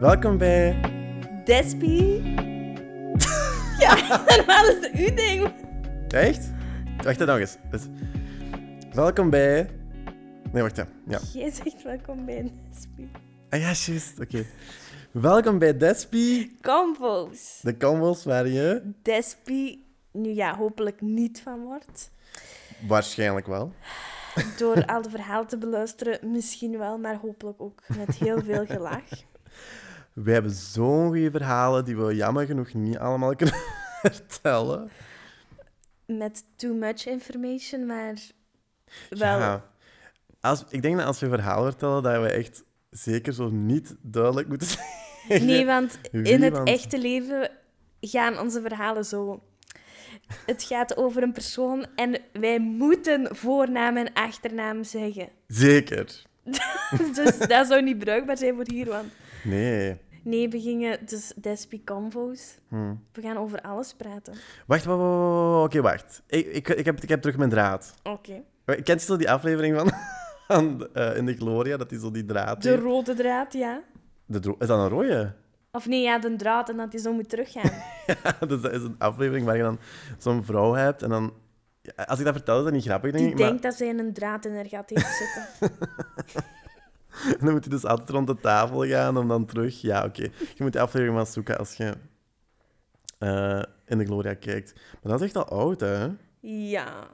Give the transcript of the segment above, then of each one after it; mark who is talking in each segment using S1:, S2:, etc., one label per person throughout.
S1: Welkom bij
S2: Despi. ja, normaal is de U-ding.
S1: Echt? Wacht dat nog eens. Dus- Welkom bij. Nee, wacht. hè. Ja.
S2: Jij zegt welkom bij Despi.
S1: Ah ja, juist. Oké. Welkom bij Despie.
S2: Combos.
S1: De combos waar je
S2: Despi nu ja, hopelijk niet van wordt.
S1: waarschijnlijk wel.
S2: Door al de verhalen te beluisteren, misschien wel, maar hopelijk ook met heel veel gelach.
S1: We hebben zo'n goede verhalen die we jammer genoeg niet allemaal kunnen vertellen.
S2: Met too much information, maar wel.
S1: Ja. Als, ik denk dat als we verhalen vertellen, dat we echt zeker zo niet duidelijk moeten zijn.
S2: Nee, want
S1: Wie,
S2: in het
S1: want-
S2: echte leven gaan onze verhalen zo. Het gaat over een persoon en wij moeten voornaam en achternaam zeggen.
S1: Zeker.
S2: Dus dat zou niet bruikbaar zijn voor hier, want...
S1: Nee.
S2: Nee, we gingen dus Despi Convo's.
S1: Hmm.
S2: We gaan over alles praten.
S1: Wacht, wacht, wacht, wacht, wacht. Oké, wacht. Ik, ik, ik, heb, ik heb terug mijn draad.
S2: Oké.
S1: Kent je zo die aflevering van, van eh, In de Gloria, dat hij zo die draad
S2: De
S1: heeft?
S2: rode draad, ja.
S1: De dro- is dat een rode?
S2: Of nee, ja, de draad en dat die zo moet teruggaan.
S1: dus dat is een aflevering waar je dan zo'n vrouw hebt en dan... Ja, Als ik dat vertel, is dat niet grappig, denk
S2: Die
S1: ik.
S2: denkt dat zij een draad in haar gat heeft zitten.
S1: Maar dan moet hij dus altijd rond de tafel gaan om dan terug... Ja, oké. Je moet die aflevering maar zoeken als je eh, In de Gloria kijkt. Maar dat is echt al oud, hè? Ik
S2: Ja.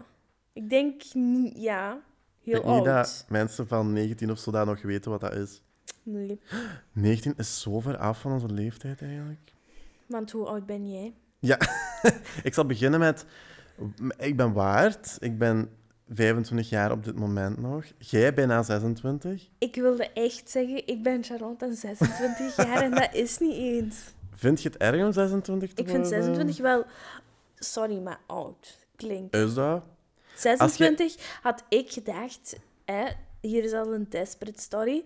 S2: Ik denk niet... Ja. Heel
S1: denk niet
S2: oud.
S1: dat mensen van 19 of zo daar nog weten wat dat is.
S2: Nee.
S1: 19 is zo ver af van onze leeftijd, eigenlijk.
S2: Want hoe oud ben jij?
S1: Ik zal beginnen met... Ik ben Waard. Ik ben 25 jaar op dit moment nog. Jij bijna 26.
S2: Ik wilde echt zeggen, ik ben Charlotte en 26 jaar en dat is niet eens.
S1: Vind je het erg om 26 te
S2: Ik vind
S1: worden?
S2: 26 wel... Sorry, maar oud klinkt.
S1: Is dat?
S2: 26 had ik gedacht, hè, hier is al een desperate story.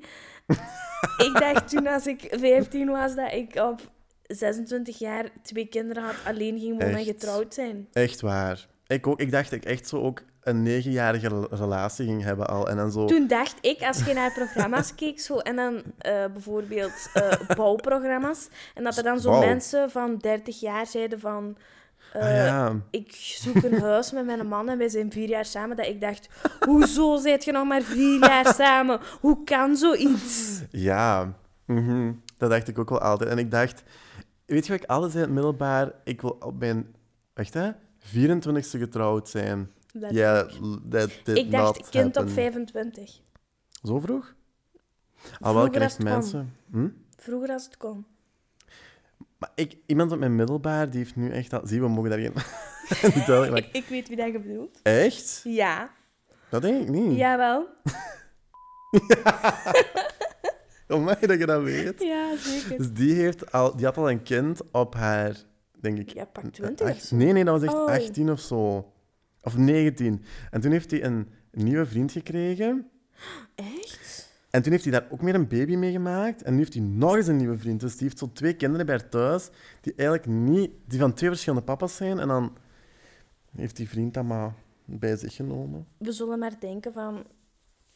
S2: ik dacht toen als ik 15 was dat ik op 26 jaar twee kinderen had, alleen ging wonen en
S1: Echt?
S2: getrouwd zijn.
S1: Echt waar. Ik, ook, ik dacht dat ik echt zo ook een negenjarige rel- relatie ging hebben al. En dan zo...
S2: Toen dacht ik, als je naar programma's keek, zo, en dan eh, bijvoorbeeld eh, bouwprogramma's, en dat er dan zo
S1: Wauw.
S2: mensen van 30 jaar zeiden van... eh,
S1: ah ja.
S2: ik zoek een huis met mijn man en wij zijn vier jaar samen. Dat ik dacht, hoezo zit je nog maar vier jaar samen? Hoe kan zoiets?
S1: Ja. Mhm. Dat dacht ik ook wel altijd. En ik dacht... Weet je wat ik altijd zei in het middelbaar? Ik wil op mijn... Wacht, hè? 24ste getrouwd zijn.
S2: Dat-
S1: Ja, that did
S2: ik dacht,
S1: not
S2: kind op
S1: happen.
S2: 25.
S1: Zo vroeg? Al wel
S2: Vroeger
S1: ken
S2: als
S1: ik
S2: het kon.
S1: mensen. Hm?
S2: Vroeger als het kon.
S1: Maar ik, iemand op mijn middelbaar, die heeft nu echt al... Zie, we mogen daar geen... niet duidelijk maken.
S2: Ik weet wie dat je bedoelt.
S1: Echt?
S2: Ja.
S1: Dat denk ik niet.
S2: Jawel.
S1: Amai, Oh dat je dat weet.
S2: Ja, zeker.
S1: Dus die, heeft al, die had al een kind op haar, denk ik...
S2: Ja, pak 20 of
S1: acht-
S2: zo.
S1: Nee, nee, dat was echt
S2: Oh.
S1: 18 of zo. Of 19. En toen heeft hij een nieuwe vriend gekregen.
S2: Echt?
S1: En toen heeft hij daar ook meer een baby mee gemaakt. En nu heeft hij nog eens een nieuwe vriend. Dus die heeft zo twee kinderen bij haar thuis, die eigenlijk niet... Die van twee verschillende papa's zijn. En dan heeft die vriend dat maar bij zich genomen.
S2: We zullen maar denken van...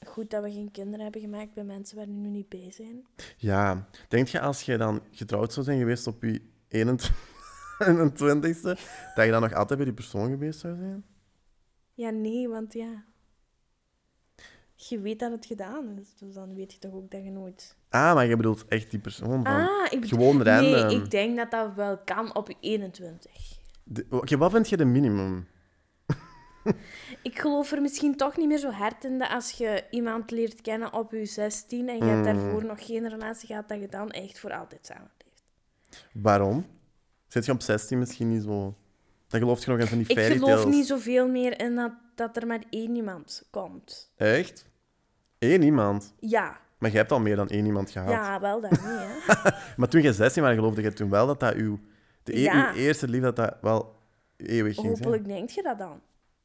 S2: Goed dat we geen kinderen hebben gemaakt bij mensen waar we nu niet bij zijn.
S1: Ja, denk je als je dan getrouwd zou zijn geweest op je 21ste, dat je dan nog altijd bij die persoon geweest zou zijn?
S2: Ja, nee, want ja... Je weet dat het gedaan is, dus dan weet je toch ook dat je nooit...
S1: Ah, maar je bedoelt echt die persoon van...
S2: Ah, ik bedoel...
S1: Gewoon random.
S2: Nee, ik denk dat dat wel kan op je 21.
S1: De- Oké, wat vind je de minimum?
S2: Ik geloof er misschien toch niet meer zo hard in dat als je iemand leert kennen op je 16 en je
S1: Mm.
S2: hebt daarvoor nog geen relatie gehad, dat je dan echt voor altijd samen blijft.
S1: Waarom? Zit je op 16 misschien niet zo... Dan geloof je nog eens in die
S2: Ik
S1: fairy
S2: geloof
S1: tales.
S2: niet zoveel meer in dat, dat er maar één iemand komt.
S1: Echt? Eén iemand.
S2: Ja,
S1: Maar je hebt al meer dan één iemand gehad.
S2: ja wel dat niet, hè.
S1: Maar toen je 16 was, geloofde je toen wel dat dat uw... De e-
S2: Ja.
S1: uw eerste liefde, dat dat wel eeuwig ging zijn?
S2: Hopelijk denk je dat dan.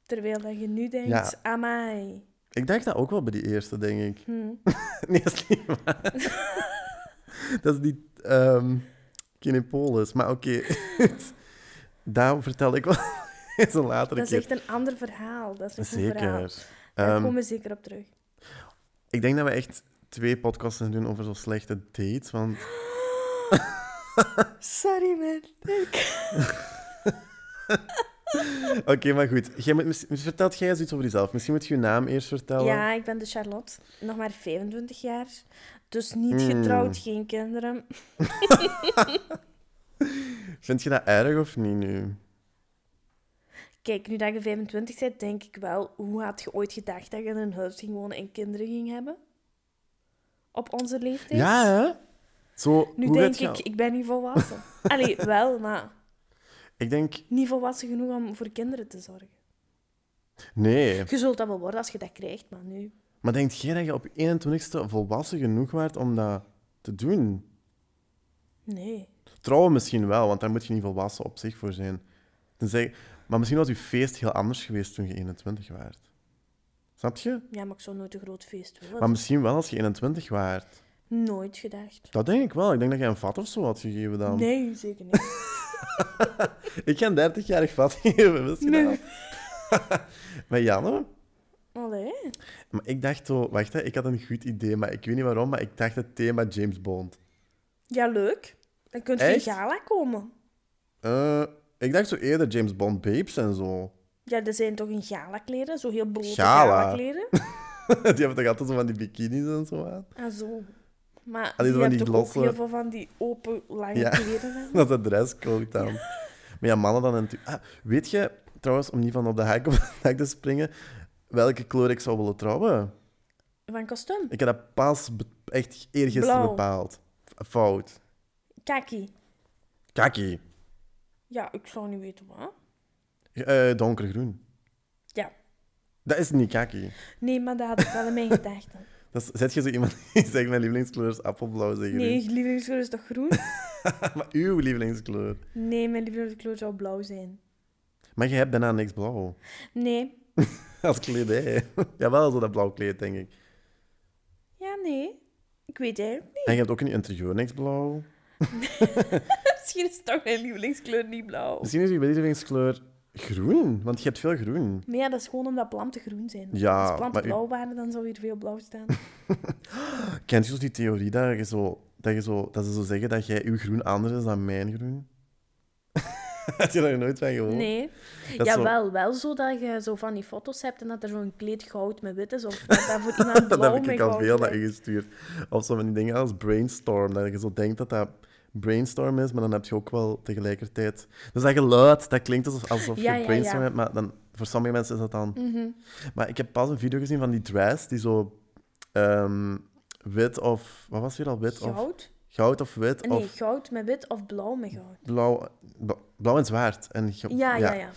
S2: Terwijl dat je nu denkt,
S1: Ja.
S2: amai.
S1: Ik dacht dat ook wel bij die eerste, denk ik.
S2: Hm.
S1: nee, dat is niet waar. dat is die ehm Kinepolis. Maar oké, daar vertel ik wel eens een
S2: Dat
S1: latere
S2: is
S1: keer.
S2: echt een ander verhaal. Dat is een goed verhaal.
S1: Zeker.
S2: Daar
S1: Ehm,
S2: komen we zeker op terug.
S1: ik denk dat we echt twee podcasts gaan doen over zo slechte dates. Want
S2: Sorry, man.
S1: Oké, maar goed. Jij moet, mis- mis- vertelt jij eens iets over jezelf? Misschien moet je je naam eerst vertellen.
S2: Ja, ik ben de Charlotte. Nog maar 25 jaar. Dus niet
S1: Mm.
S2: getrouwd, geen kinderen.
S1: Vind je dat erg of niet nu?
S2: Kijk, nu dat je 25 bent, denk ik wel... Hoe had je ooit gedacht dat je in een huis ging wonen en kinderen ging hebben? Op onze leeftijd?
S1: Ja, hè? Zo,
S2: Nu
S1: hoe
S2: denk
S1: gaat je-
S2: ik, ik ben niet volwassen. Allee, wel, maar
S1: Ik denk,
S2: niet volwassen genoeg om voor kinderen te zorgen.
S1: nee.
S2: Je zult dat wel worden als je dat krijgt, maar nu...
S1: Maar denk jij dat je op 21ste volwassen genoeg waart om dat te doen?
S2: Nee.
S1: Trouwen misschien wel, want daar moet je niet volwassen op zich voor zijn. Tenzij, maar misschien was je feest heel anders geweest toen je 21 waart. Snap je?
S2: Ja, maar ik zou nooit een groot feest willen.
S1: Maar misschien wel als je 21 waart.
S2: Nooit gedacht.
S1: Dat denk ik wel. Ik denk dat jij een vat of zo had gegeven dan.
S2: Nee, zeker niet.
S1: Ik ga een 30-jarig vat geven, wist je dat? Maar Janne,
S2: Allee.
S1: maar ik dacht zo... Wacht, hè, ik had een goed idee, maar ik weet niet waarom, maar ik dacht het thema James Bond.
S2: Ja, leuk. Dan kunt je in
S1: Echt?
S2: gala komen.
S1: Eh, ik dacht zo eerder James Bond babes en zo.
S2: Ja, er zijn toch in gala-kleren? Zo heel blote
S1: Gala.
S2: gala-kleren?
S1: Die hebben toch altijd zo van die bikinis en zo aan?
S2: Ah, zo. Maar
S1: Ah, die
S2: die,
S1: van
S2: hebben
S1: die
S2: toch ook
S1: losse-
S2: heel veel van die open, lange
S1: Ja.
S2: kleren aan?
S1: Dat is de dresscode dan. Maar ja, mannen dan natuurlijk... Ah, weet je, trouwens, om niet van op de haak op de hak te springen, welke kleur ik zou willen trouwen?
S2: Van kostuum.
S1: Ik heb dat pas be- echt eergisteren
S2: Blauw.
S1: bepaald. F- Fout.
S2: Kaki.
S1: Kaki.
S2: Ja, ik zou niet weten wat.
S1: Eh, donkergroen.
S2: Ja.
S1: Dat is niet kaki.
S2: Nee, maar dat had ik wel in mijn gedachten.
S1: Dat is, zet je zo iemand die zegt, mijn lievelingskleur is appelblauw, zeg je.
S2: Nee, je lievelingskleur is toch groen?
S1: Maar uw lievelingskleur.
S2: Nee, mijn lievelingskleur zou blauw zijn.
S1: Maar je hebt bijna niks blauw.
S2: Nee.
S1: Als kledij. Jawel, zo dat blauw kleed, denk ik.
S2: Ja, nee. Ik weet eigenlijk niet.
S1: En je hebt ook in je interieur niks blauw.
S2: Misschien is toch mijn lievelingskleur niet blauw.
S1: Misschien is je lievelingskleur groen, want je hebt veel groen.
S2: Maar ja, dat is gewoon omdat planten groen zijn.
S1: Ja,
S2: Als planten
S1: maar u-
S2: blauw waren, dan zou hier veel blauw staan.
S1: Kent je zo die theorie dat, je zo, dat, je zo, dat ze zo zeggen dat jij uw groen anders is dan mijn groen? Had je daar nooit van gehoord?
S2: Nee.
S1: Dat is
S2: ja,
S1: zo-
S2: wel, wel zo dat je zo van die foto's hebt en dat er zo'n kleed goud met wit is. Of dat daar voor iemand blauw
S1: Dat heb
S2: met
S1: ik al
S2: goud
S1: veel naar
S2: lijkt.
S1: u gestuurd. Of zo van die dingen als brainstorm. Dat je zo denkt dat dat brainstorm is, maar dan heb je ook wel tegelijkertijd... Dus dat geluid, dat klinkt alsof, alsof
S2: Ja, Mhm.
S1: je
S2: ja,
S1: brainstorm
S2: ja.
S1: hebt, maar dan, voor sommige mensen is dat dan... Maar ik heb pas een video gezien van die dress, die zo... ehm, wit of... Wat was het weer al? Wit of...
S2: Goud?
S1: Goud of wit
S2: Nee,
S1: of
S2: goud met wit of blauw met goud.
S1: blauw, bla- blauw en zwaard. En, ge-
S2: Ja, ja, ja.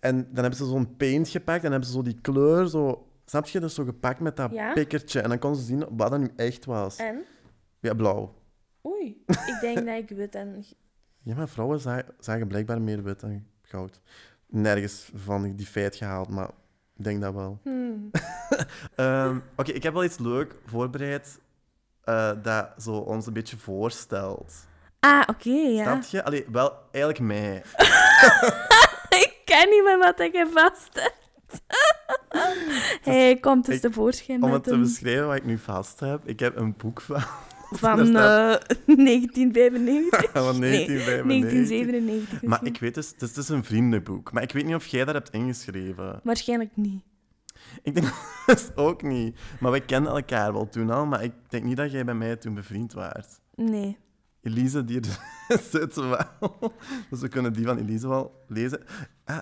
S1: en dan hebben ze zo'n paint gepakt en hebben ze zo die kleur zo... Snap je? Dus zo gepakt met dat
S2: Ja.
S1: pikkertje. En dan kon ze zien wat dat nu echt was.
S2: En?
S1: Ja, blauw.
S2: Oei. Ik denk dat ik wit en...
S1: Ja, maar vrouwen za- zagen blijkbaar meer wit dan goud. Nergens van die feit gehaald, maar ik denk dat wel.
S2: Hmm.
S1: Ehm, Oké, ik heb wel iets leuk voorbereid eh, dat zo ons een beetje voorstelt.
S2: Ah, oké, ja.
S1: Snap je? Allee, wel, eigenlijk mij.
S2: Ik ken niet meer wat ik heb vast heb. Hij komt dus
S1: ik-
S2: tevoorschijn
S1: Om
S2: met
S1: het te
S2: een-
S1: beschrijven wat ik nu vast heb, ik heb een boek van,
S2: van
S1: daar
S2: eh, 1995.
S1: van
S2: Nee,
S1: 1995.
S2: 1997.
S1: Maar
S2: misschien.
S1: ik weet dus, het is dus een vriendenboek. Maar ik weet niet of jij dat hebt ingeschreven.
S2: Waarschijnlijk niet.
S1: Ik denk dat ook niet. Maar wij kennen elkaar wel toen al, maar ik denk niet dat jij bij mij toen bevriend waart.
S2: Nee.
S1: Hm. Elise, die er zit wel. Dus we kunnen die van Elise wel lezen. Ah,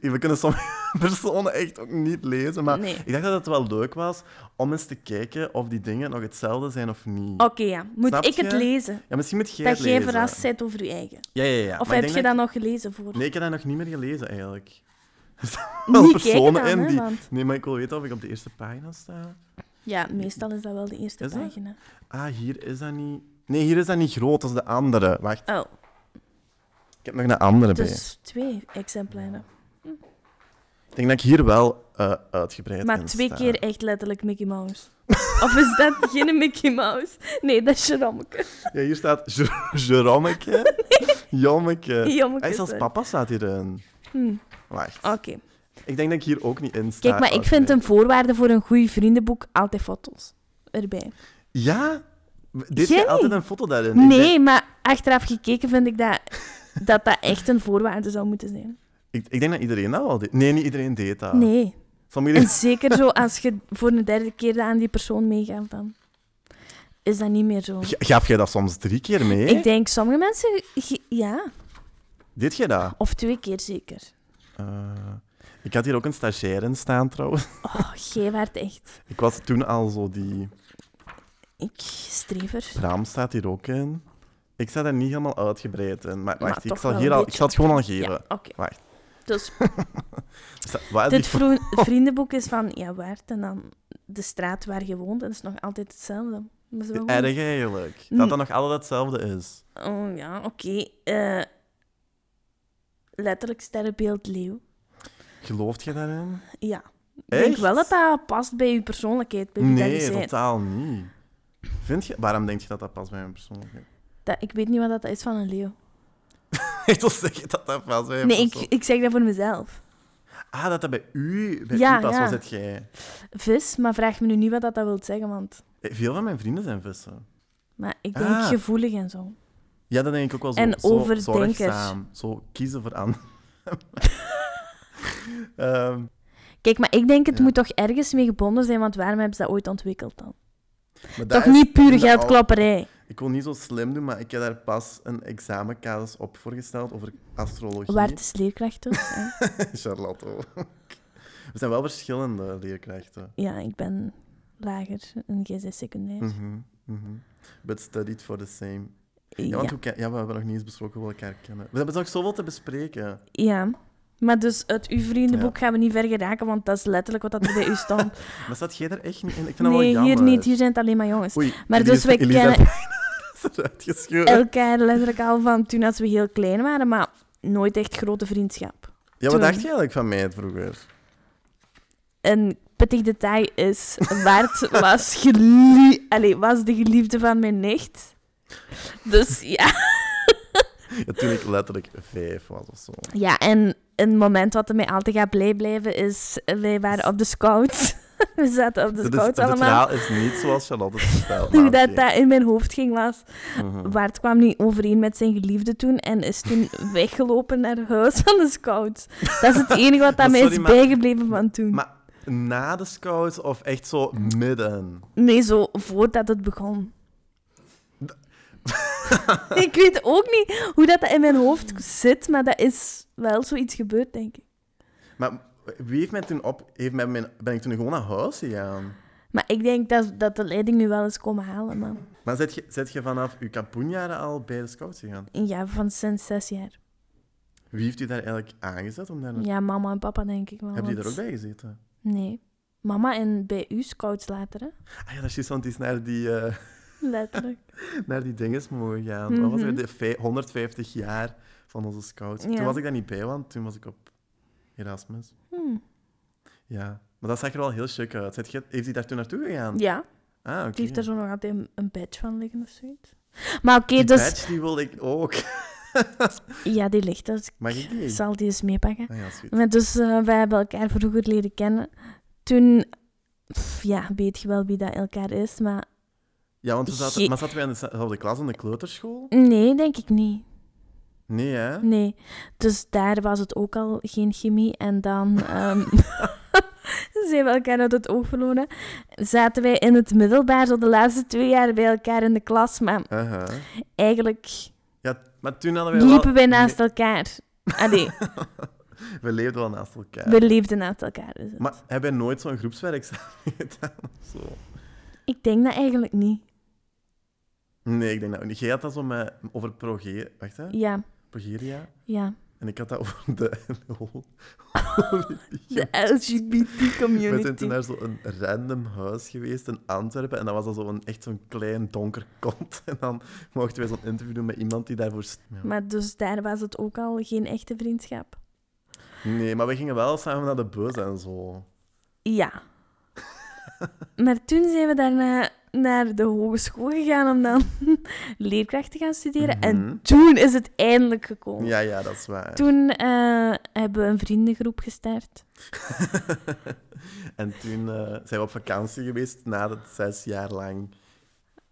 S1: we kunnen sommige personen echt ook niet lezen. Maar
S2: Nee.
S1: ik dacht dat het wel leuk was om eens te kijken of die dingen nog hetzelfde zijn of niet.
S2: Oké, ja. Moet
S1: Snap
S2: ik het
S1: je?
S2: lezen?
S1: Ja, misschien moet jij
S2: Oh, dat
S1: het
S2: jij
S1: lezen.
S2: verrast bent over je eigen.
S1: Ja, ja, ja.
S2: Of
S1: Maar ik
S2: heb
S1: denk
S2: je dat, nog gelezen voor?
S1: Nee, ik heb dat nog niet meer gelezen, eigenlijk. Er staan
S2: Niet
S1: wel
S2: kijken
S1: personen
S2: dan,
S1: in
S2: hè,
S1: die...
S2: want-
S1: Nee, maar ik wil weten of ik op de eerste pagina sta.
S2: Ja, meestal is dat wel de eerste
S1: Is dat?
S2: pagina.
S1: Ah, hier is dat niet... Nee, hier is dat niet groot als de andere. Wacht,
S2: Oh,
S1: ik heb nog een andere bij.
S2: dus twee exemplaren.
S1: Ik denk dat ik hier wel eh, uitgebreid
S2: Maar
S1: in
S2: twee
S1: sta.
S2: keer echt letterlijk Mickey Mouse. of is dat geen Mickey Mouse? Nee, dat is Jerommeke.
S1: Ja, hier staat Jer- Jeromeke. Jommeke.
S2: Jommeke,
S1: Hij zelfs
S2: sorry.
S1: papa staat hierin.
S2: Hm,
S1: Wacht.
S2: Oké.
S1: Ik denk dat ik hier ook niet in sta.
S2: Kijk, maar ik vind
S1: uitgebreid.
S2: een voorwaarde voor een goed vriendenboek altijd foto's erbij.
S1: Ja? Deed je
S2: Geen.
S1: altijd een foto daarin? Ik denk-
S2: Nee, maar achteraf gekeken vind ik dat dat, dat echt een voorwaarde zou moeten zijn.
S1: Ik, ik denk dat iedereen dat wel deed. Nee, niet iedereen deed dat.
S2: Nee.
S1: Sommigen...
S2: En zeker zo als je voor een derde keer dat aan die persoon meegaat, dan is dat niet meer zo.
S1: G- Gaf jij dat soms drie keer mee?
S2: Ik denk, sommige mensen... ge- Ja,
S1: Deed jij dat?
S2: of twee keer zeker.
S1: Eh, ik had hier ook een stagiair in staan, trouwens.
S2: Oh, jij werd echt...
S1: Ik was toen al zo die...
S2: Ik strever.
S1: Raam staat hier ook in. Ik sta daar niet helemaal uitgebreid in. Maar
S2: Maar
S1: wacht, ik,
S2: toch
S1: zal
S2: wel
S1: hier
S2: een
S1: al, ik
S2: beetje.
S1: zal het gewoon al
S2: Ja,
S1: geven.
S2: oké.
S1: Wacht.
S2: Dus
S1: Sta- waar
S2: dit
S1: die-
S2: vro- vriendenboek is van, ja, Waard en dan de straat waar je woont. En dat is nog altijd hetzelfde. Maar ze wel Hmm. goed.
S1: Erg eigenlijk. Dat dat nog altijd hetzelfde is.
S2: Oh ja, oké. Eh, letterlijk sterrenbeeld leeuw.
S1: Gelooft je daarin?
S2: Ja. Ik denk
S1: Echt?
S2: wel dat dat past bij je persoonlijkheid, bij wie dat
S1: Nee,
S2: je bent.
S1: totaal niet. Vind je... Waarom denk je dat dat past bij mijn persoonlijkheid?
S2: Dat- ik weet niet wat dat is van een leeuw.
S1: Echt al zeg je dat dat past bij mijn
S2: Nee, ik,
S1: persoon-
S2: ik zeg dat voor mezelf.
S1: Ah, dat dat bij u, bij
S2: Ja,
S1: u past.
S2: ja.
S1: Wat zit jij?
S2: Vis, maar vraag me nu niet wat dat, dat wil zeggen, want...
S1: Eh, Veel van mijn vrienden zijn vissen.
S2: Maar ik denk
S1: Ah.
S2: gevoelig en zo.
S1: Ja, dat denk ik ook wel zo.
S2: En
S1: zo
S2: overdenker.
S1: zorgzaam. Zo kiezen voor anderen. Ehm,
S2: Kijk, maar ik denk het
S1: Ja.
S2: moet toch ergens mee gebonden zijn, want waarom hebben ze dat ooit ontwikkeld dan?
S1: maar dat
S2: Toch
S1: is-
S2: niet pure
S1: in de oude-
S2: geldklapperij?
S1: Ik wil niet zo slim doen, maar ik heb daar pas een examencasus op voorgesteld over astrologie.
S2: Waard is leerkracht ook. hè?
S1: Charlotte. ook. We zijn wel verschillende leerkrachten.
S2: ja, ik ben lager en jij bent secundair.
S1: Mhm, mhm. But studied for the same. Ja,
S2: Ja,
S1: want hoe ke- ja, we hebben nog niet eens besproken hoe we elkaar kennen. We hebben nog zoveel te bespreken.
S2: ja. Maar dus uit uw vriendenboek gaan we niet ver geraken, want dat is letterlijk wat dat er bij u stond.
S1: Maar staat jij er echt niet in? Ik vind dat wel
S2: nee,
S1: jammer.
S2: hier niet. Hier zijn het alleen maar jongens.
S1: Oei,
S2: Maar dus
S1: Elisa-
S2: we
S1: Elisa
S2: kennen
S1: is eruit gescheurd.
S2: elkaar letterlijk al van toen als we heel klein waren, maar nooit echt grote vriendschap.
S1: Ja, wat
S2: toen-
S1: dacht je eigenlijk van mij vroeger?
S2: Een pittig detail is, Waard was, gelie- Allee, was de geliefde van mijn nicht. Dus ja.
S1: Ja, toen ik letterlijk vijf was of zo.
S2: Ja, en een moment wat er mij altijd gaat blij blijven is, eh, wij waren op de scouts. We zaten op de
S1: Dit, is,
S2: scouts
S1: dit
S2: allemaal.
S1: Dus verhaal is niet zoals Charlotte het vertelt.
S2: Hoe
S1: maar
S2: dat,
S1: oké.
S2: dat in mijn hoofd ging was.
S1: Mhm.
S2: Waard kwam niet overeen met zijn geliefde toen en is toen weggelopen naar huis van de scouts. Dat is het enige wat
S1: Maar
S2: aan mij is
S1: sorry, maar-
S2: bijgebleven van toen.
S1: Maar na de scouts of echt zo midden?
S2: Nee, zo voordat het begon. ik weet ook niet hoe dat, dat in mijn hoofd zit, maar dat is wel zoiets gebeurd, denk ik.
S1: Maar wie heeft mij toen op... Heeft mij mijn, ben ik toen gewoon naar huis gegaan?
S2: Maar ik denk dat, dat de leiding nu wel eens komen halen, man.
S1: Maar zit je, zit je vanaf je kapoenjaren al bij de scouts gegaan?
S2: Ja, van sinds zes jaar.
S1: Wie heeft u daar eigenlijk aangezet om daar naartoe?
S2: Ja, mama en papa denk ik wel.
S1: Hebben die
S2: want-
S1: daar ook bij gezeten?
S2: Nee. Mama en bij u scouts later, hè?
S1: Ah ja, dat is juist, want die is naar die, eh,
S2: Letterlijk.
S1: naar die dinges mogen gaan. Wat was
S2: Mhm.
S1: weer de vij- 150 jaar van onze scouts?
S2: Ja.
S1: Toen was ik daar niet bij, want toen was ik op Erasmus.
S2: Hm.
S1: Ja, maar dat zag er wel heel chic uit. Zit je, heeft hij daar toen naartoe gegaan?
S2: Ja,
S1: Ah, oké.
S2: die heeft er zo nog altijd een, een badge van liggen of zoiets. Maar oké,
S1: Die
S2: dus...
S1: badge, die wilde ik ook.
S2: Ja, die ligt er.
S1: Mag ik die?
S2: Ik zal die eens meepakken.
S1: Ah ja, sweet.
S2: Maar dus eh, wij hebben elkaar vroeger leren kennen. Toen, pff, ja, weet je wel wie dat elkaar is, maar
S1: Ja, want we zaten,
S2: Ge-
S1: maar zaten wij in dezelfde klas in de kleuterschool?
S2: nee, denk ik niet.
S1: Nee, hè?
S2: Nee. Dus daar was het ook al geen chemie. En dan ehm zijn we elkaar uit het oog verloren. Zaten wij in het middelbaar, zo de laatste twee jaar bij elkaar in de klas, maar
S1: Aha.
S2: eigenlijk
S1: Ja, maar toen hadden wij wel...
S2: liepen wij naast elkaar. Allee,
S1: Nee, we leefden wel naast elkaar.
S2: we leefden naast elkaar. dus is het.
S1: Maar hebben wij nooit zo'n groepswerk samen gedaan of zo?
S2: Ik denk dat eigenlijk niet.
S1: Nee, ik denk dat ook niet. Jij had dat zo met, over proge... Wacht, hè?
S2: Ja,
S1: Progeria.
S2: ja.
S1: En ik had dat over de... LOL.
S2: De LGBT-community.
S1: We zijn toen naar zo'n random huis geweest in Antwerpen. En dat was dan zo'n, echt zo'n klein donker kont. En dan mochten wij zo'n interview doen met iemand die daarvoor... st- Ja.
S2: Maar dus daar was het ook al geen echte vriendschap.
S1: Nee, maar we gingen wel samen naar de bus en zo.
S2: Ja. maar toen zijn we daarna naar de hogeschool gegaan om dan leerkracht te gaan studeren.
S1: Mhm.
S2: En toen is het eindelijk gekomen.
S1: Ja, ja, dat is waar.
S2: Toen eh, hebben we een vriendengroep gestart.
S1: en toen eh, zijn we op vakantie geweest na dat zes jaar lang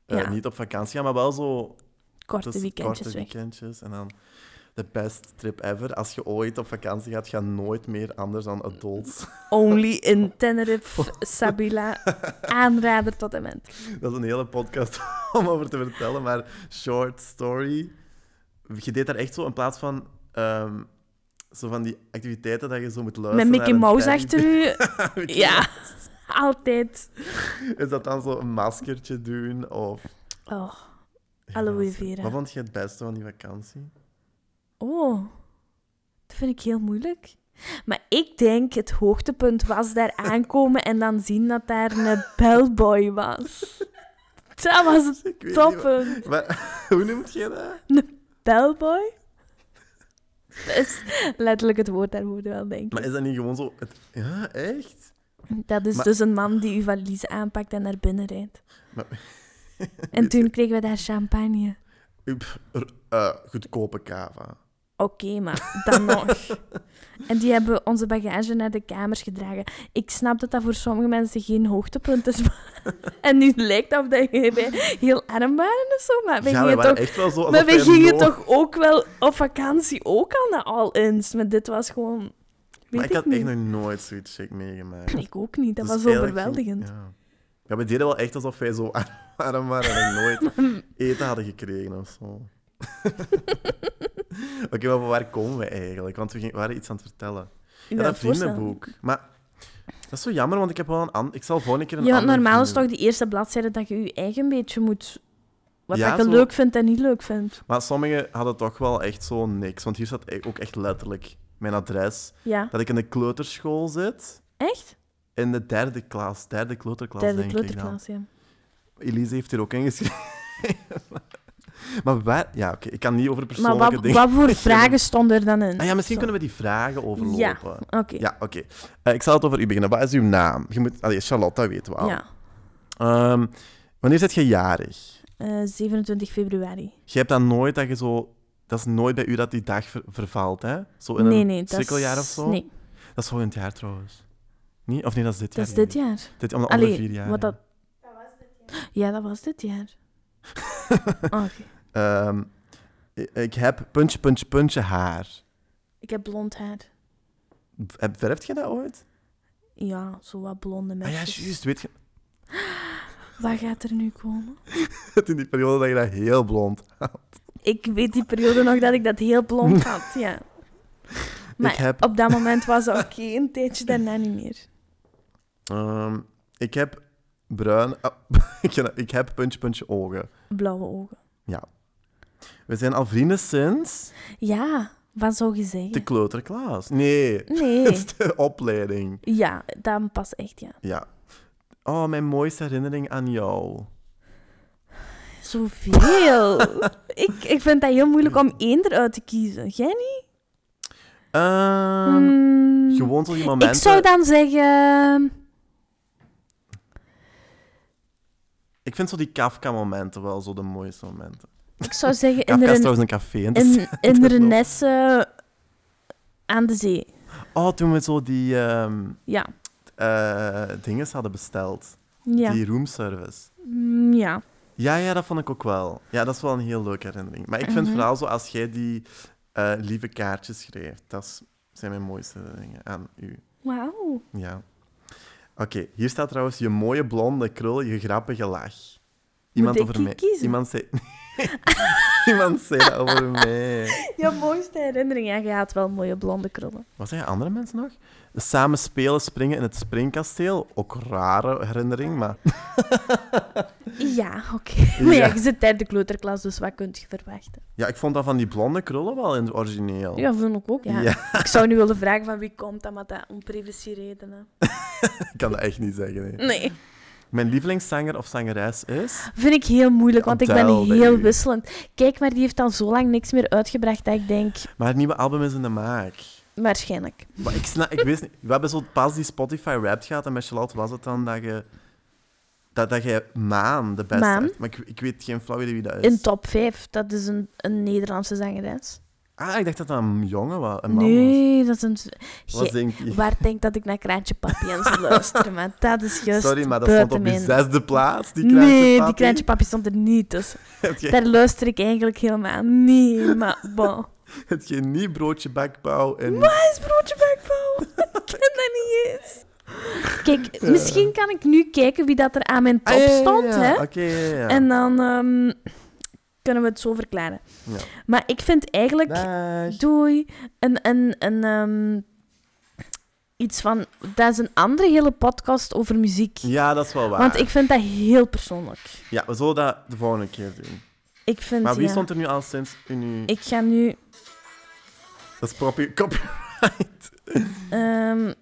S1: Eh,
S2: Ja.
S1: Niet op vakantie gaan, maar wel zo
S2: Korte
S1: tussen-
S2: weekendjes
S1: korte
S2: weg.
S1: weekendjes. En dan de best trip ever. Als je ooit op vakantie gaat, ga nooit meer anders dan adults.
S2: Only
S1: Oh.
S2: in Tenerife, Sabila. Aanrader tot en met.
S1: Dat is een hele podcast om over te vertellen, maar short story. Je deed daar echt zo in plaats van ehm, zo van die activiteiten dat je zo moet luisteren.
S2: Met Mickey
S1: naar een
S2: Mouse
S1: teddy-
S2: achter u.
S1: Mickey
S2: Ja, altijd.
S1: Is dat dan zo een maskertje doen of...
S2: Oh. Aloe vera.
S1: Wat vond je het beste van die vakantie?
S2: oh, dat vind ik heel moeilijk. Maar ik denk het hoogtepunt was daar aankomen en dan zien dat daar een bellboy was. Dat was het
S1: Ik weet niet wat-
S2: toppunt.
S1: Maar, hoe noemt je dat?
S2: Bellboy? Dat is letterlijk het woord daarvoor wel, denk ik.
S1: Maar is dat niet gewoon zo... Het... Ja, echt?
S2: Dat is
S1: maar-
S2: dus een man die uw valise aanpakt en naar binnen rijdt.
S1: Maar-
S2: En toen kregen we daar champagne.
S1: Up, er- eh, goedkope kava.
S2: Oké, maar dan nog. En die hebben onze bagage naar de kamers gedragen. Ik snap dat dat voor sommige mensen geen hoogtepunt is. maar- En nu lijkt dat of dat je- wij heel arm waren of zo. Maar wij
S1: ja, we
S2: Ah, gingen,
S1: waren
S2: toch,
S1: echt wel zo...
S2: maar wij
S1: we
S2: gingen toch ook wel op vakantie ook al naar All-Ins. Maar dit was gewoon... Weet
S1: Maar ik had
S2: niet.
S1: echt nog nooit zoiets chic meegemaakt.
S2: Ik ook niet. Dat
S1: Dus
S2: was
S1: eigenlijk ging-
S2: overweldigend.
S1: Ja. ja, we deden wel echt alsof wij zo arm waren en nooit eten hadden gekregen of zo. Oké, maar van waar komen we eigenlijk? Want we gingen- we waren iets aan het vertellen. Ja, dat vriendenboek. Maar dat is zo jammer, want ik heb wel een an- Ik zal volgende keer een
S2: Ja, want
S1: ander
S2: normaal is toch
S1: vriendenboek-
S2: die eerste bladzijde dat je je eigen beetje moet... Wat
S1: Ja,
S2: dat je
S1: zo-
S2: leuk vindt en niet leuk vindt.
S1: Maar sommigen hadden toch wel echt zo niks. Want hier staat e- ook echt letterlijk mijn adres.
S2: Ja.
S1: Dat ik in de kleuterschool zit.
S2: Echt?
S1: In de derde klas. Derde kleuterklas,
S2: Derde
S1: denk ik dan.
S2: kleuterklas, ja.
S1: Elise heeft hier ook ingeschreven. maar waar... Ja, oké. Ik kan niet over
S2: Maar
S1: persoonlijke
S2: wat,
S1: dingen...
S2: wat voor vragen stonden er dan in?
S1: Ah ja, misschien
S2: Zo.
S1: kunnen we die vragen overlopen.
S2: Ja, Oké.
S1: Ja, oké. Eh, ik zal het over u beginnen. Wat is uw naam? Je moet... Allee, Charlotte, dat weten we al.
S2: Ja.
S1: Ehm, wanneer zit je jarig?
S2: Eh, 27 februari.
S1: Je hebt dan nooit dat je zo... Dat is nooit bij u dat die dag ver- vervalt, hè? Zo in
S2: nee,
S1: een
S2: nee. Dat
S1: cirkeljaar
S2: is...
S1: of zo?
S2: Nee,
S1: Dat is volgend jaar trouwens. Niet? Of nee, dat is dit jaar.
S2: dat is dit jaar.
S1: Dit, om de andere
S2: Allee,
S1: vier jaar.
S2: wat
S1: ja.
S2: dat... Ja, dat was dit jaar. Ah, Oké.
S1: Ehm, ik- ik heb puntje, puntje, puntje haar.
S2: Ik heb blond haar.
S1: Heb- Verft je dat ooit?
S2: Ja, zo wat blonde
S1: Ah ja,
S2: meisjes.
S1: juist. Weet je,
S2: Wat gaat er nu komen?
S1: in die periode dat je dat heel blond...
S2: Ik weet die periode nog dat ik dat heel blond had, ja. Maar
S1: Ik heb-
S2: op dat moment was dat oké, een tijdje daarna niet meer.
S1: Ehm, ik heb bruin... ah, ik ken dat. ik heb puntje, puntje, ogen.
S2: Blauwe ogen.
S1: We zijn al vrienden sinds
S2: Ja, wat zou je
S1: de
S2: zeggen?
S1: kleuterklas. Nee,
S2: Nee.
S1: sinds de opleiding.
S2: Ja, dat past echt, ja.
S1: Ja. Oh, mijn mooiste herinnering aan jou.
S2: Zoveel. ik, ik vind dat heel moeilijk om één eruit te kiezen. Jij niet?
S1: Ehm,
S2: Hmm.
S1: Gewoon zo die
S2: ik
S1: momenten...
S2: zou dan zeggen...
S1: Ik vind zo die Kafka-momenten wel zo de mooiste momenten.
S2: Ik zou zeggen in,
S1: Kafka is
S2: de
S1: trouwens een café. Dus, in de
S2: in,
S1: stad.
S2: in Renesse eh, aan de zee.
S1: Oh, toen we zo die ehm
S2: Ja.
S1: eh, dinges hadden besteld.
S2: Ja.
S1: Die roomservice.
S2: Mm, ja.
S1: Ja, ja, dat vond ik ook wel. Ja, dat is wel een heel leuke herinnering. Maar ik vind
S2: Mhm.
S1: vooral zo als jij die eh, lieve kaartjes schreef. Dat is- zijn mijn mooiste herinneringen aan u.
S2: Wauw.
S1: Ja. Oké, hier staat trouwens je mooie blonde krul, je grappige lach. Iemand
S2: ik
S1: over
S2: die
S1: mij.
S2: kiezen?
S1: Iemand zei. Iemand zei dat over mij.
S2: Je mooiste herinnering. Ja, je had wel mooie blonde krullen.
S1: Wat zeggen andere mensen nog? Samen spelen, springen in het springkasteel. Ook een rare herinnering, maar.
S2: Ja, oké. Maar ja,
S1: Ja.
S2: je zit tijdens de kleuterklas, dus wat kun je verwachten?
S1: Ja, ik vond dat van die blonde krullen wel in het origineel.
S2: Ja, vond ik ook. Ja.
S1: Ja,
S2: Ik zou nu willen vragen van wie komt dat, maar dat om privacyredenen.
S1: ik kan dat echt niet zeggen. nee.
S2: Nee.
S1: Mijn lievelingszanger of zangeres is.
S2: Vind ik heel moeilijk, want ik ben
S1: Adele, bij
S2: heel
S1: u.
S2: wisselend. Kijk, maar die heeft al zo lang niks meer uitgebracht dat ik denk,
S1: Maar het nieuwe album is in de maak.
S2: waarschijnlijk.
S1: Maar ik snap, ik wist niet. We hebben zo pas die Spotify rap gehad en met Charlotte was het dan dat je. Dat, dat je Maan de beste
S2: Maan?
S1: hebt. Maar ik, ik weet geen flauw idee wie dat is.
S2: In top 5, dat is een, een Nederlandse zangeres.
S1: Ah, ik dacht dat dat een jongen was. Een man
S2: Nee, dat is een...
S1: was. Wat
S2: Ge-
S1: denk je?
S2: Waar denk dat ik naar Kraantje Papi aan zou luisteren, maar dat is juist
S1: Sorry, maar dat stond op die
S2: buiten
S1: zesde plaats, die
S2: mijn-
S1: kraantje
S2: Nee, die
S1: papi.
S2: Kraantje Papi stond er niet tussen.
S1: Heb je-
S2: Daar luister ik eigenlijk helemaal niet, maar bon.
S1: heb je niet broodje bakpauw en...
S2: Wat is broodje bakpauw? ik ken dat niet eens. Kijk, misschien kan ik nu kijken wie dat er aan mijn top
S1: Ah, ja, ja, ja,
S2: stond,
S1: ja.
S2: hè.
S1: Oké, ja, ja.
S2: En dan ehm, kunnen we het zo verklaren.
S1: Ja.
S2: Maar ik vind eigenlijk...
S1: Dag.
S2: Doei. En, en, en ehm, iets van. Dat is een andere hele podcast over muziek.
S1: Ja, dat is wel waar.
S2: Want ik vind dat heel persoonlijk.
S1: Ja, we zullen dat de volgende keer doen.
S2: Ik vind.
S1: Maar wie
S2: ja,
S1: stond er nu al sinds in uw...
S2: Ik ga nu.
S1: Dat is propi- copyright.
S2: ehm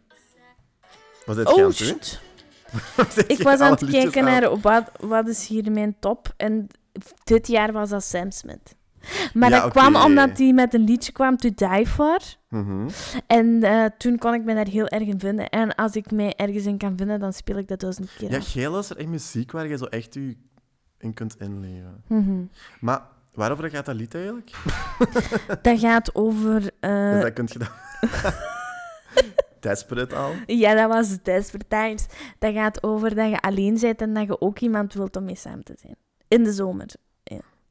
S1: Was dit
S2: oh,
S1: gaan doen?
S2: shit.
S1: Was dit
S2: Ik
S1: geen
S2: was aan
S1: alle
S2: het
S1: liedjes
S2: kijken
S1: aan-
S2: naar wat, wat is hier mijn top. En dit jaar was dat Sam Smith. Maar
S1: Ja,
S2: dat
S1: oké.
S2: kwam omdat hij met een liedje kwam, To Die For.
S1: Mhm.
S2: En eh, toen kon ik me daar heel erg in vinden. En als ik mij ergens in kan vinden, dan speel ik dat duizend keer.
S1: Ja,
S2: af.
S1: geel is er echt muziek waar je zo echt je in kunt inleven.
S2: Mhm.
S1: Maar waarover gaat dat lied eigenlijk?
S2: Dat gaat over... eh,
S1: dus dat kunt je dan... Desperate al. Ah,
S2: Ja, dat was Desperate Times. Dat gaat over dat je alleen bent en dat je ook iemand wilt om mee samen te zijn. In de zomer.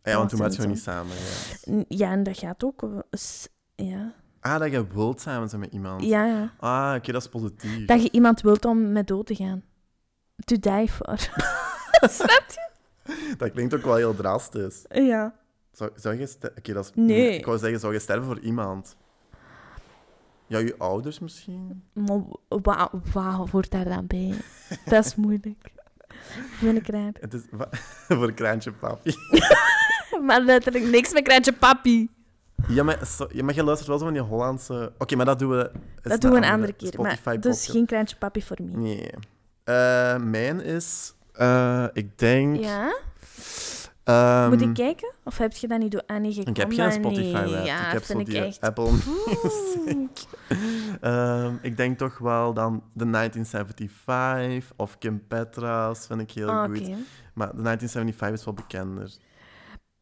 S1: Ja, want toen
S2: was
S1: was je
S2: het
S1: niet samen. Ja.
S2: N- Ja, en dat gaat ook... over- s- Ja,
S1: Ah, dat je wilt samen zijn met iemand.
S2: ja, ja.
S1: Ah, oké, dat is positief.
S2: Dat je iemand wilt om met dood te gaan. To die for. Snap je?
S1: Dat klinkt ook wel heel drastisch.
S2: Ja.
S1: Zou, zou je ster- Oké, dat is...
S2: Nee.
S1: Ik wou zeggen, zou je sterven voor iemand? Ja, je ouders misschien?
S2: Maar wa- wauw, hoort daar dan bij? Dat is moeilijk. Vind ik raar.
S1: Het is... wa- voor kraantje papi.
S2: Maar letterlijk niks met kraantje papi.
S1: Ja, maar, so- ja, maar je luistert wel zo van die Hollandse... Oké, maar dat doen we... is
S2: Dat
S1: de
S2: doen we een andere keer. Maar
S1: Spotify
S2: dus
S1: podcast.
S2: geen kraantje papi voor mij.
S1: Nee. Eh, mijn is... eh, ik denk...
S2: Ja?
S1: ehm,
S2: Moet ik kijken? Of heb je dat niet door Annie gekomen?
S1: Ik heb geen Spotify
S2: nee.
S1: rap.
S2: Ja,
S1: ik heb
S2: vind
S1: zo die
S2: ik echt...
S1: Apple Music. Ehm, ik denk toch wel dan de 1975 of Kim Petras vind ik heel
S2: Ah,
S1: goed.
S2: Oké.
S1: Maar de 1975 is wel bekender.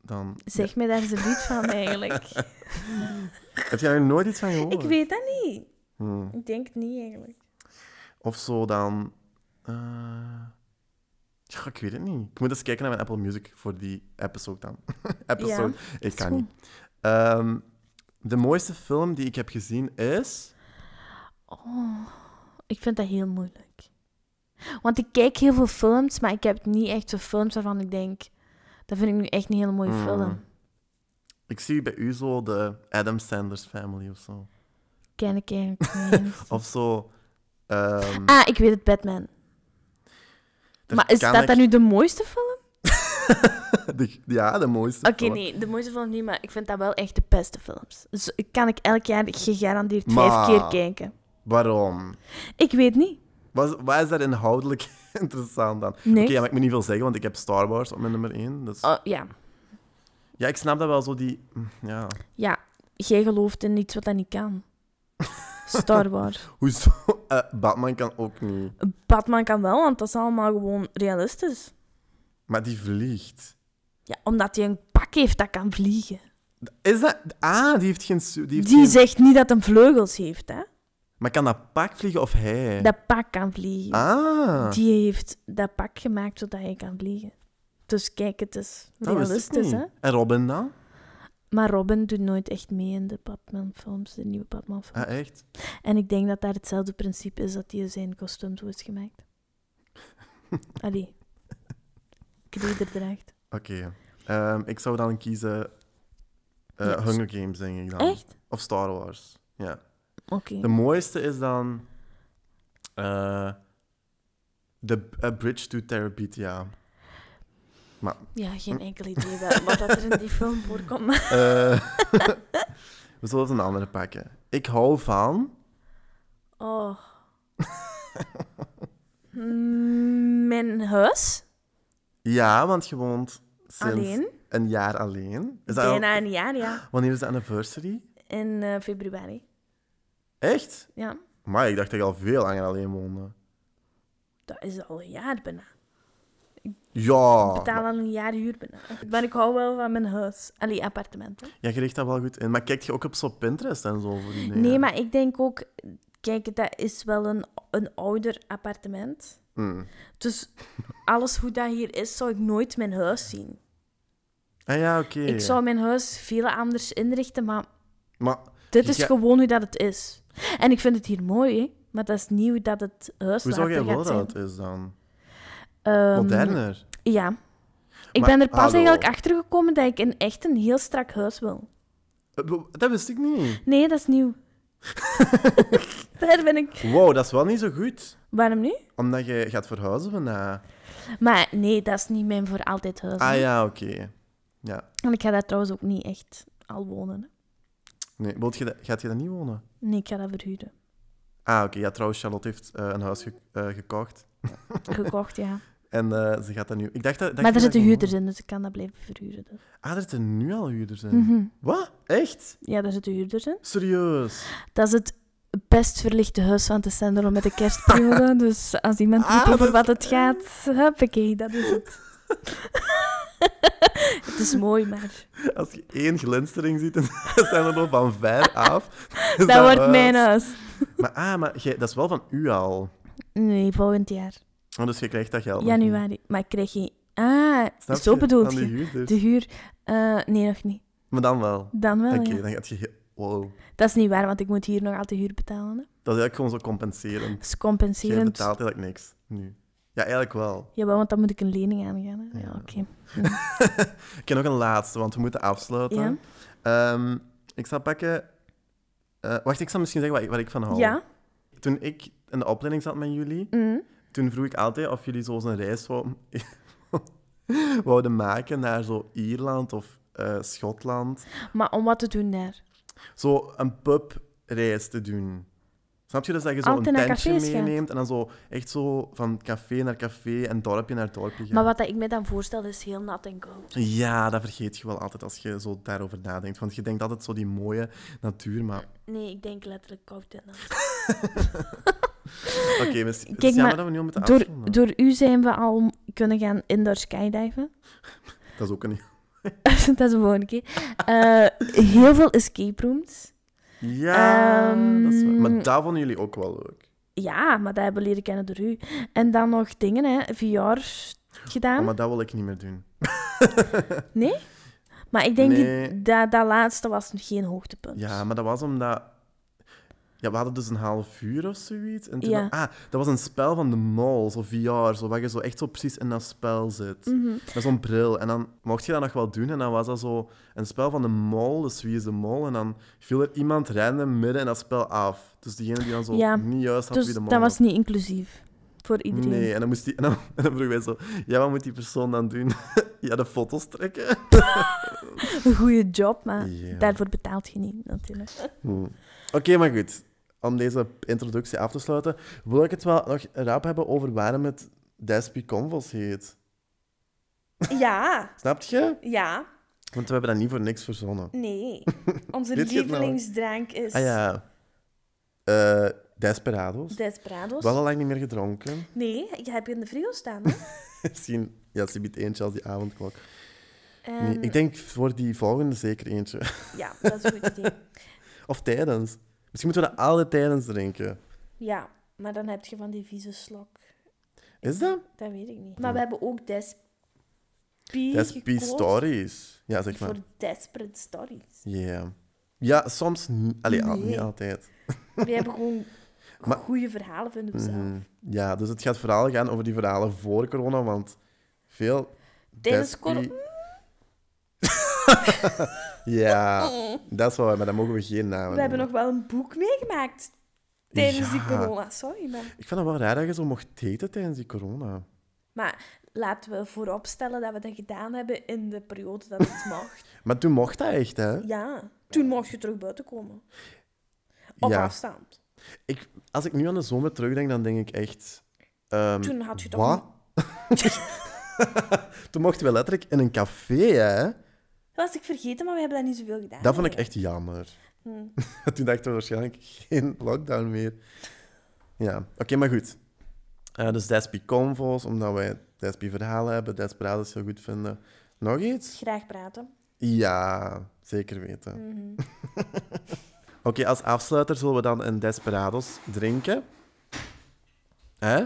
S1: Dan...
S2: Zeg mij daar eens een lied van eigenlijk.
S1: Heb jij er nooit iets van gehoord?
S2: ik weet dat niet.
S1: Hmm.
S2: Ik denk het niet eigenlijk.
S1: Of zo dan. eh, Ja, ik weet het niet. Ik moet eens kijken naar mijn Apple Music voor die episode dan. episode. ik
S2: is
S1: kan
S2: goed.
S1: niet. Ehm, de mooiste film die ik heb gezien is.
S2: Oh, ik vind dat heel moeilijk. Want ik kijk heel veel films, maar ik heb niet echt zo films waarvan ik denk... Dat vind ik nu echt een hele mooie
S1: Mm.
S2: film.
S1: Ik zie bij u zo de Adam Sanders Family of zo.
S2: Ken ik eigenlijk niet eens.
S1: Of zo. ehm,
S2: Ah, ik weet het, Batman.
S1: daar
S2: maar is
S1: kan
S2: dat
S1: ik-
S2: dan nu de mooiste film?
S1: de- ja, de mooiste.
S2: Oké,
S1: film.
S2: nee, de mooiste film niet, maar ik vind dat wel echt de beste films. Dus kan ik elk jaar gegarandeerd
S1: Maar-
S2: vijf keer kijken.
S1: Waarom?
S2: Ik weet niet.
S1: Wat, wat is daar inhoudelijk interessant aan? Oké,
S2: Nee.
S1: ja, maar ik moet niet veel zeggen, want ik heb Star Wars op mijn nummer 1. Dus...
S2: Oh, ja.
S1: Ja, ik snap dat wel zo die. mm, Ja.
S2: ja, jij gelooft in iets wat dat niet kan. Star Wars.
S1: Hoezo? Eh, Batman kan ook niet.
S2: Batman kan wel, want dat is allemaal gewoon realistisch.
S1: Maar die vliegt.
S2: Ja, omdat hij een pak heeft dat kan vliegen.
S1: Is dat. Ah, die heeft geen. su- Die heeft
S2: Die
S1: geen-
S2: zegt niet dat hij vleugels heeft, hè.
S1: Maar kan dat pak vliegen of hij?
S2: Dat pak kan vliegen.
S1: Ah.
S2: Die heeft dat pak gemaakt zodat hij kan vliegen. Dus kijk, het is
S1: dat wist ik
S2: realistisch,
S1: niet.
S2: hè.
S1: En Robin dan?
S2: Maar Robin doet nooit echt mee in de Batman-films, de nieuwe Batman-films.
S1: Ah, echt?
S2: En ik denk dat daar hetzelfde principe is dat hij zijn kostuum zo is gemaakt. Allee. Kleder draagt.
S1: Oké. Ehm, ik zou dan kiezen eh,
S2: Ja,
S1: Hunger Games, denk ik dan.
S2: Echt?
S1: Of Star Wars. Ja.
S2: Oké.
S1: De mooiste is dan. eh the A Bridge to Terabithia.
S2: Ja, geen
S1: hm.
S2: enkel idee wel, wat dat er in die film voorkomt. maar-
S1: Eh, we zullen het een andere pakken. Ik hou van.
S2: Oh. Mm, Mijn huis?
S1: Ja, want je woont sinds
S2: Alleen?
S1: een jaar alleen. Is dat al-
S2: Bijna een jaar, ja.
S1: Wanneer is de anniversary?
S2: In eh, februari.
S1: Echt?
S2: Ja,
S1: Maar ik dacht dat je al veel langer alleen woonde.
S2: dat is al een jaar bijna.
S1: Ja.
S2: betaal aan een jaar huur bijna. Maar ik hou wel van mijn huis. Allee, appartementen.
S1: Ja, je richt dat wel goed in. Maar kijk je ook op zo'n Pinterest en zo voor die dingen?
S2: Nee, maar ik denk ook... Kijk, dat is wel een, een ouder appartement.
S1: Mm.
S2: Dus alles hoe dat hier is, zou ik nooit mijn huis zien.
S1: Ah ja, oké.
S2: Ik zou mijn huis veel anders inrichten, maar
S1: Maar
S2: dit is
S1: Ja.
S2: gewoon hoe dat het is. En ik vind het hier mooi, hè? maar dat is niet hoe dat het huis
S1: hoe zou
S2: later
S1: jij wel
S2: gaat zijn.
S1: dat is dan?
S2: Ehm,
S1: Moderner?
S2: Ja. Ik
S1: Maar-
S2: ben er pas
S1: hallo.
S2: eigenlijk achter gekomen dat ik een echt een heel strak huis wil.
S1: Eh, w- Dat wist ik niet.
S2: Nee, dat is nieuw. Daar ben ik.
S1: Wow, dat is wel niet zo goed.
S2: Waarom nu?
S1: Omdat je gaat verhuizen bijna.
S2: Maar nee, dat is niet mijn voor altijd huis.
S1: Ah
S2: hè.
S1: ja, oké. Ja.
S2: En ik ga daar trouwens ook niet echt al wonen. hè.
S1: Nee, wilt je dat- gaat je daar niet wonen?
S2: Nee, ik ga dat verhuren.
S1: Ah, oké. Ja, trouwens, Charlotte heeft eh, een huis ge- eh, gekocht.
S2: Gekocht, ja.
S1: En eh, ze gaat dat nu... Ik dacht dat... dacht
S2: maar
S1: je
S2: er
S1: dat
S2: zitten
S1: je
S2: huurders in, dus ik kan dat blijven verhuren. dus.
S1: woont. Ah, er zitten nu al huurders in.
S2: Mhm.
S1: Wat? Echt?
S2: Ja, daar zitten huurders in.
S1: Serieus?
S2: Dat is het best verlichte huis van Tessendelo met de kerstperiode. dus als iemand
S1: Ah,
S2: weet
S1: dat
S2: over
S1: is-
S2: wat het gaat, huppakee, dat is het. het is mooi, maar...
S1: Als je één glinstering ziet, dan zijn er nog van ver af. is
S2: Dat, wordt
S1: huis.
S2: mijn eh, huis.
S1: Maar, ah, maar jij- dat is wel van u al.
S2: Nee, volgend jaar.
S1: Oh, dus je krijgt dat geld. nog niet.
S2: Januari. Maar ik krijg je... Ah,
S1: Snap
S2: zo
S1: je?
S2: bedoelt
S1: Van de
S2: je.
S1: huurders.
S2: De huur... eh, nee, nog niet.
S1: Maar dan wel.
S2: Dan wel,
S1: Oké,
S2: ja.
S1: dan gaat je... heel- Wow.
S2: Dat is niet waar, want ik moet hier nog altijd huur betalen. Hè.
S1: Dat is eigenlijk gewoon zo compenserend.
S2: Dat is
S1: Jij
S2: compenserend.
S1: betaalt eigenlijk niks nu. Ja, eigenlijk wel.
S2: Jawel, want dan moet ik een lening aangaan. Hè. Ja,
S1: Ja.
S2: oké.
S1: Ik heb nog een laatste, want we moeten afsluiten. Ehm, ik zal pakken... eh, wacht, ik zal misschien zeggen wat ik, wat ik van hou.
S2: Ja?
S1: Toen ik in de opleiding zat met jullie,
S2: Mhm.
S1: toen vroeg ik altijd of jullie zo eens een reis wou- wouden maken naar zo Ierland of eh, Schotland.
S2: Maar om wat te doen daar?
S1: Zo een pubreis te doen. Snap je? Dus dat je zo
S2: Altijd
S1: een
S2: naar
S1: tentje
S2: cafés gaat.
S1: meeneemt en dan zo echt zo van café naar café en dorpje naar dorpje gaat.
S2: Maar wat dat ik me dan voorstel is heel nat en koud.
S1: Ja, dat vergeet je wel altijd als je zo daarover nadenkt. Want je denkt altijd zo die mooie natuur, maar...
S2: Nee, ik denk letterlijk koud en nat.
S1: Oké, mis- het
S2: Kijk,
S1: is jammer
S2: maar
S1: dat we nu al moeten
S2: Door,
S1: afronden.
S2: door u zijn we al kunnen gaan indoor skydiven.
S1: Dat is ook een...
S2: dat is de volgende keer. Eh, heel veel escape rooms.
S1: Ja, dat is waar.
S2: Ehm.
S1: Maar dat vonden jullie ook wel leuk.
S2: Ja, maar dat hebben we leren kennen door u. En dan nog dingen, hè. VR gedaan.
S1: Oh,
S2: maar...
S1: maar dat wil ik niet meer doen.
S2: ik denk
S1: Nee.
S2: dat dat laatste was geen hoogtepunt.
S1: Ja, maar dat was omdat... Ja, we hadden dus een half uur of zoiets. En toen
S2: Ja.
S1: Ah, dat was een spel van de mall, zo VR, zo, waar je zo echt zo precies in dat spel zit.
S2: Mhm.
S1: Met zo'n bril. En dan mocht je dat nog wel doen. En dan was dat zo een spel van de mol, dus wie is de mol? En dan viel er iemand random midden in dat spel af. Dus diegene die dan zo
S2: Ja.
S1: niet juist had
S2: Dus
S1: wie de mol
S2: dat was niet inclusief voor iedereen.
S1: Nee, en dan, moest die, en, dan, en dan vroeg wij zo... Ja, wat moet die persoon dan doen? ja, de foto's trekken.
S2: Een goede job, maar
S1: Ja.
S2: daarvoor betaalt je niet, natuurlijk.
S1: Hmm. Oké, maar goed. Om deze introductie af te sluiten, wil ik het wel nog rap hebben over waarom het Despy Convos heet.
S2: Ja,
S1: Snap je?
S2: ja,
S1: Want we hebben dat niet voor niks verzonnen.
S2: nee. Onze
S1: Weet je het nou?
S2: lievelingsdrank is
S1: Ah ja. Eh, Desperados.
S2: Desperados.
S1: Wel al lang niet meer gedronken.
S2: Nee, je hebt je in de frigo staan. Hè?
S1: Misschien, ja, ze biedt eentje als die avondklok.
S2: En,
S1: Nee, ik denk voor die volgende zeker eentje.
S2: Ehm, Ja, dat is een goed idee.
S1: Of tijdens. Misschien moeten we dat alle tijdens drinken.
S2: Ja, maar dan heb je van die vieze slok.
S1: Is dat?
S2: Dat weet ik niet. Maar we hebben ook Despi
S1: Despy
S2: gekozen
S1: Stories. Ja, zeg maar.
S2: Voor Desperate Stories.
S1: Yeah. Ja, soms niet. Allee, al-
S2: Nee.
S1: niet altijd.
S2: We hebben gewoon
S1: Maar-
S2: goede verhalen, vinden we zelf.
S1: Mhm. Ja, dus het gaat vooral gaan over die verhalen voor corona, want veel...
S2: Tijdens
S1: Despy-
S2: corona-
S1: ja, dat is wel waar, maar daar mogen we geen namen
S2: We hebben nog
S1: noemen.
S2: wel een boek meegemaakt tijdens die
S1: Ja.
S2: corona. Sorry, maar...
S1: Ik vind het wel raar dat je zo mocht daten tijdens die corona.
S2: Maar laten we vooropstellen dat we dat gedaan hebben in de periode dat het mocht.
S1: Maar toen mocht dat echt, hè?
S2: Ja. Toen mocht je terug buiten komen. Op
S1: Ja.
S2: afstand.
S1: Ik, als ik nu aan de zomer terugdenk, dan denk ik echt... ehm,
S2: Toen had je toch...
S1: Wat?
S2: nog-
S1: Toen mochten we letterlijk in een café, hè?
S2: Dat was ik vergeten, maar we hebben dat niet zoveel gedaan.
S1: Dat vond ik echt jammer.
S2: Hm.
S1: Toen dachten we waarschijnlijk geen lockdown meer. Ja, oké, maar goed. Eh, dus Despy Convos, omdat wij Despie verhalen hebben, Desperados heel goed vinden. Nog iets?
S2: Graag praten.
S1: Ja, zeker weten. Oké, als afsluiter zullen we dan een Desperados drinken. Hè?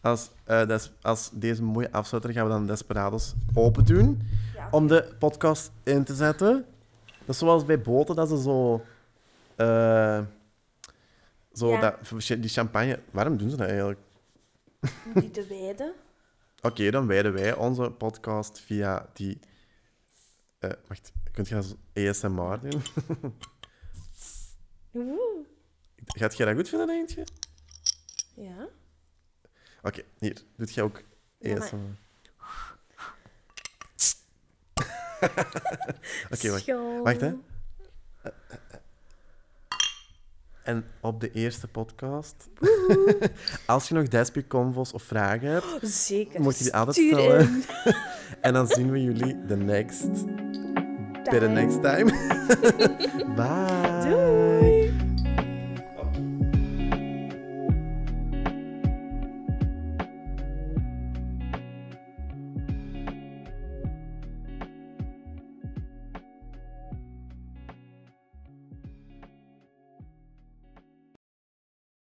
S1: Als, eh, des- als deze mooie afsluiter gaan we dan Desperados open doen.
S2: Ja.
S1: Om de podcast in te zetten. Dat is zoals bij boten, dat ze zo... eh, zo
S2: Ja.
S1: dat, die champagne... Waarom doen ze dat eigenlijk?
S2: Om die te wijden.
S1: Oké, dan wijden wij onze podcast via die. eh, wacht, kunt je dat als ASMR doen?
S2: Oeh.
S1: Gaat jij dat goed vinden, denk je? Oké,
S2: Ja.
S1: hier. Doet jij ook
S2: Ja, maar-
S1: ASMR? Oké, wacht.
S2: Schoon.
S1: Wacht, hè. Eh, En op de eerste podcast. als je nog Despie Convos of vragen hebt,
S2: Zeker.
S1: Moet je die altijd
S2: Stuur
S1: stellen?
S2: in.
S1: en dan zien we jullie de next. Bij de
S2: Time.
S1: next time. Bye.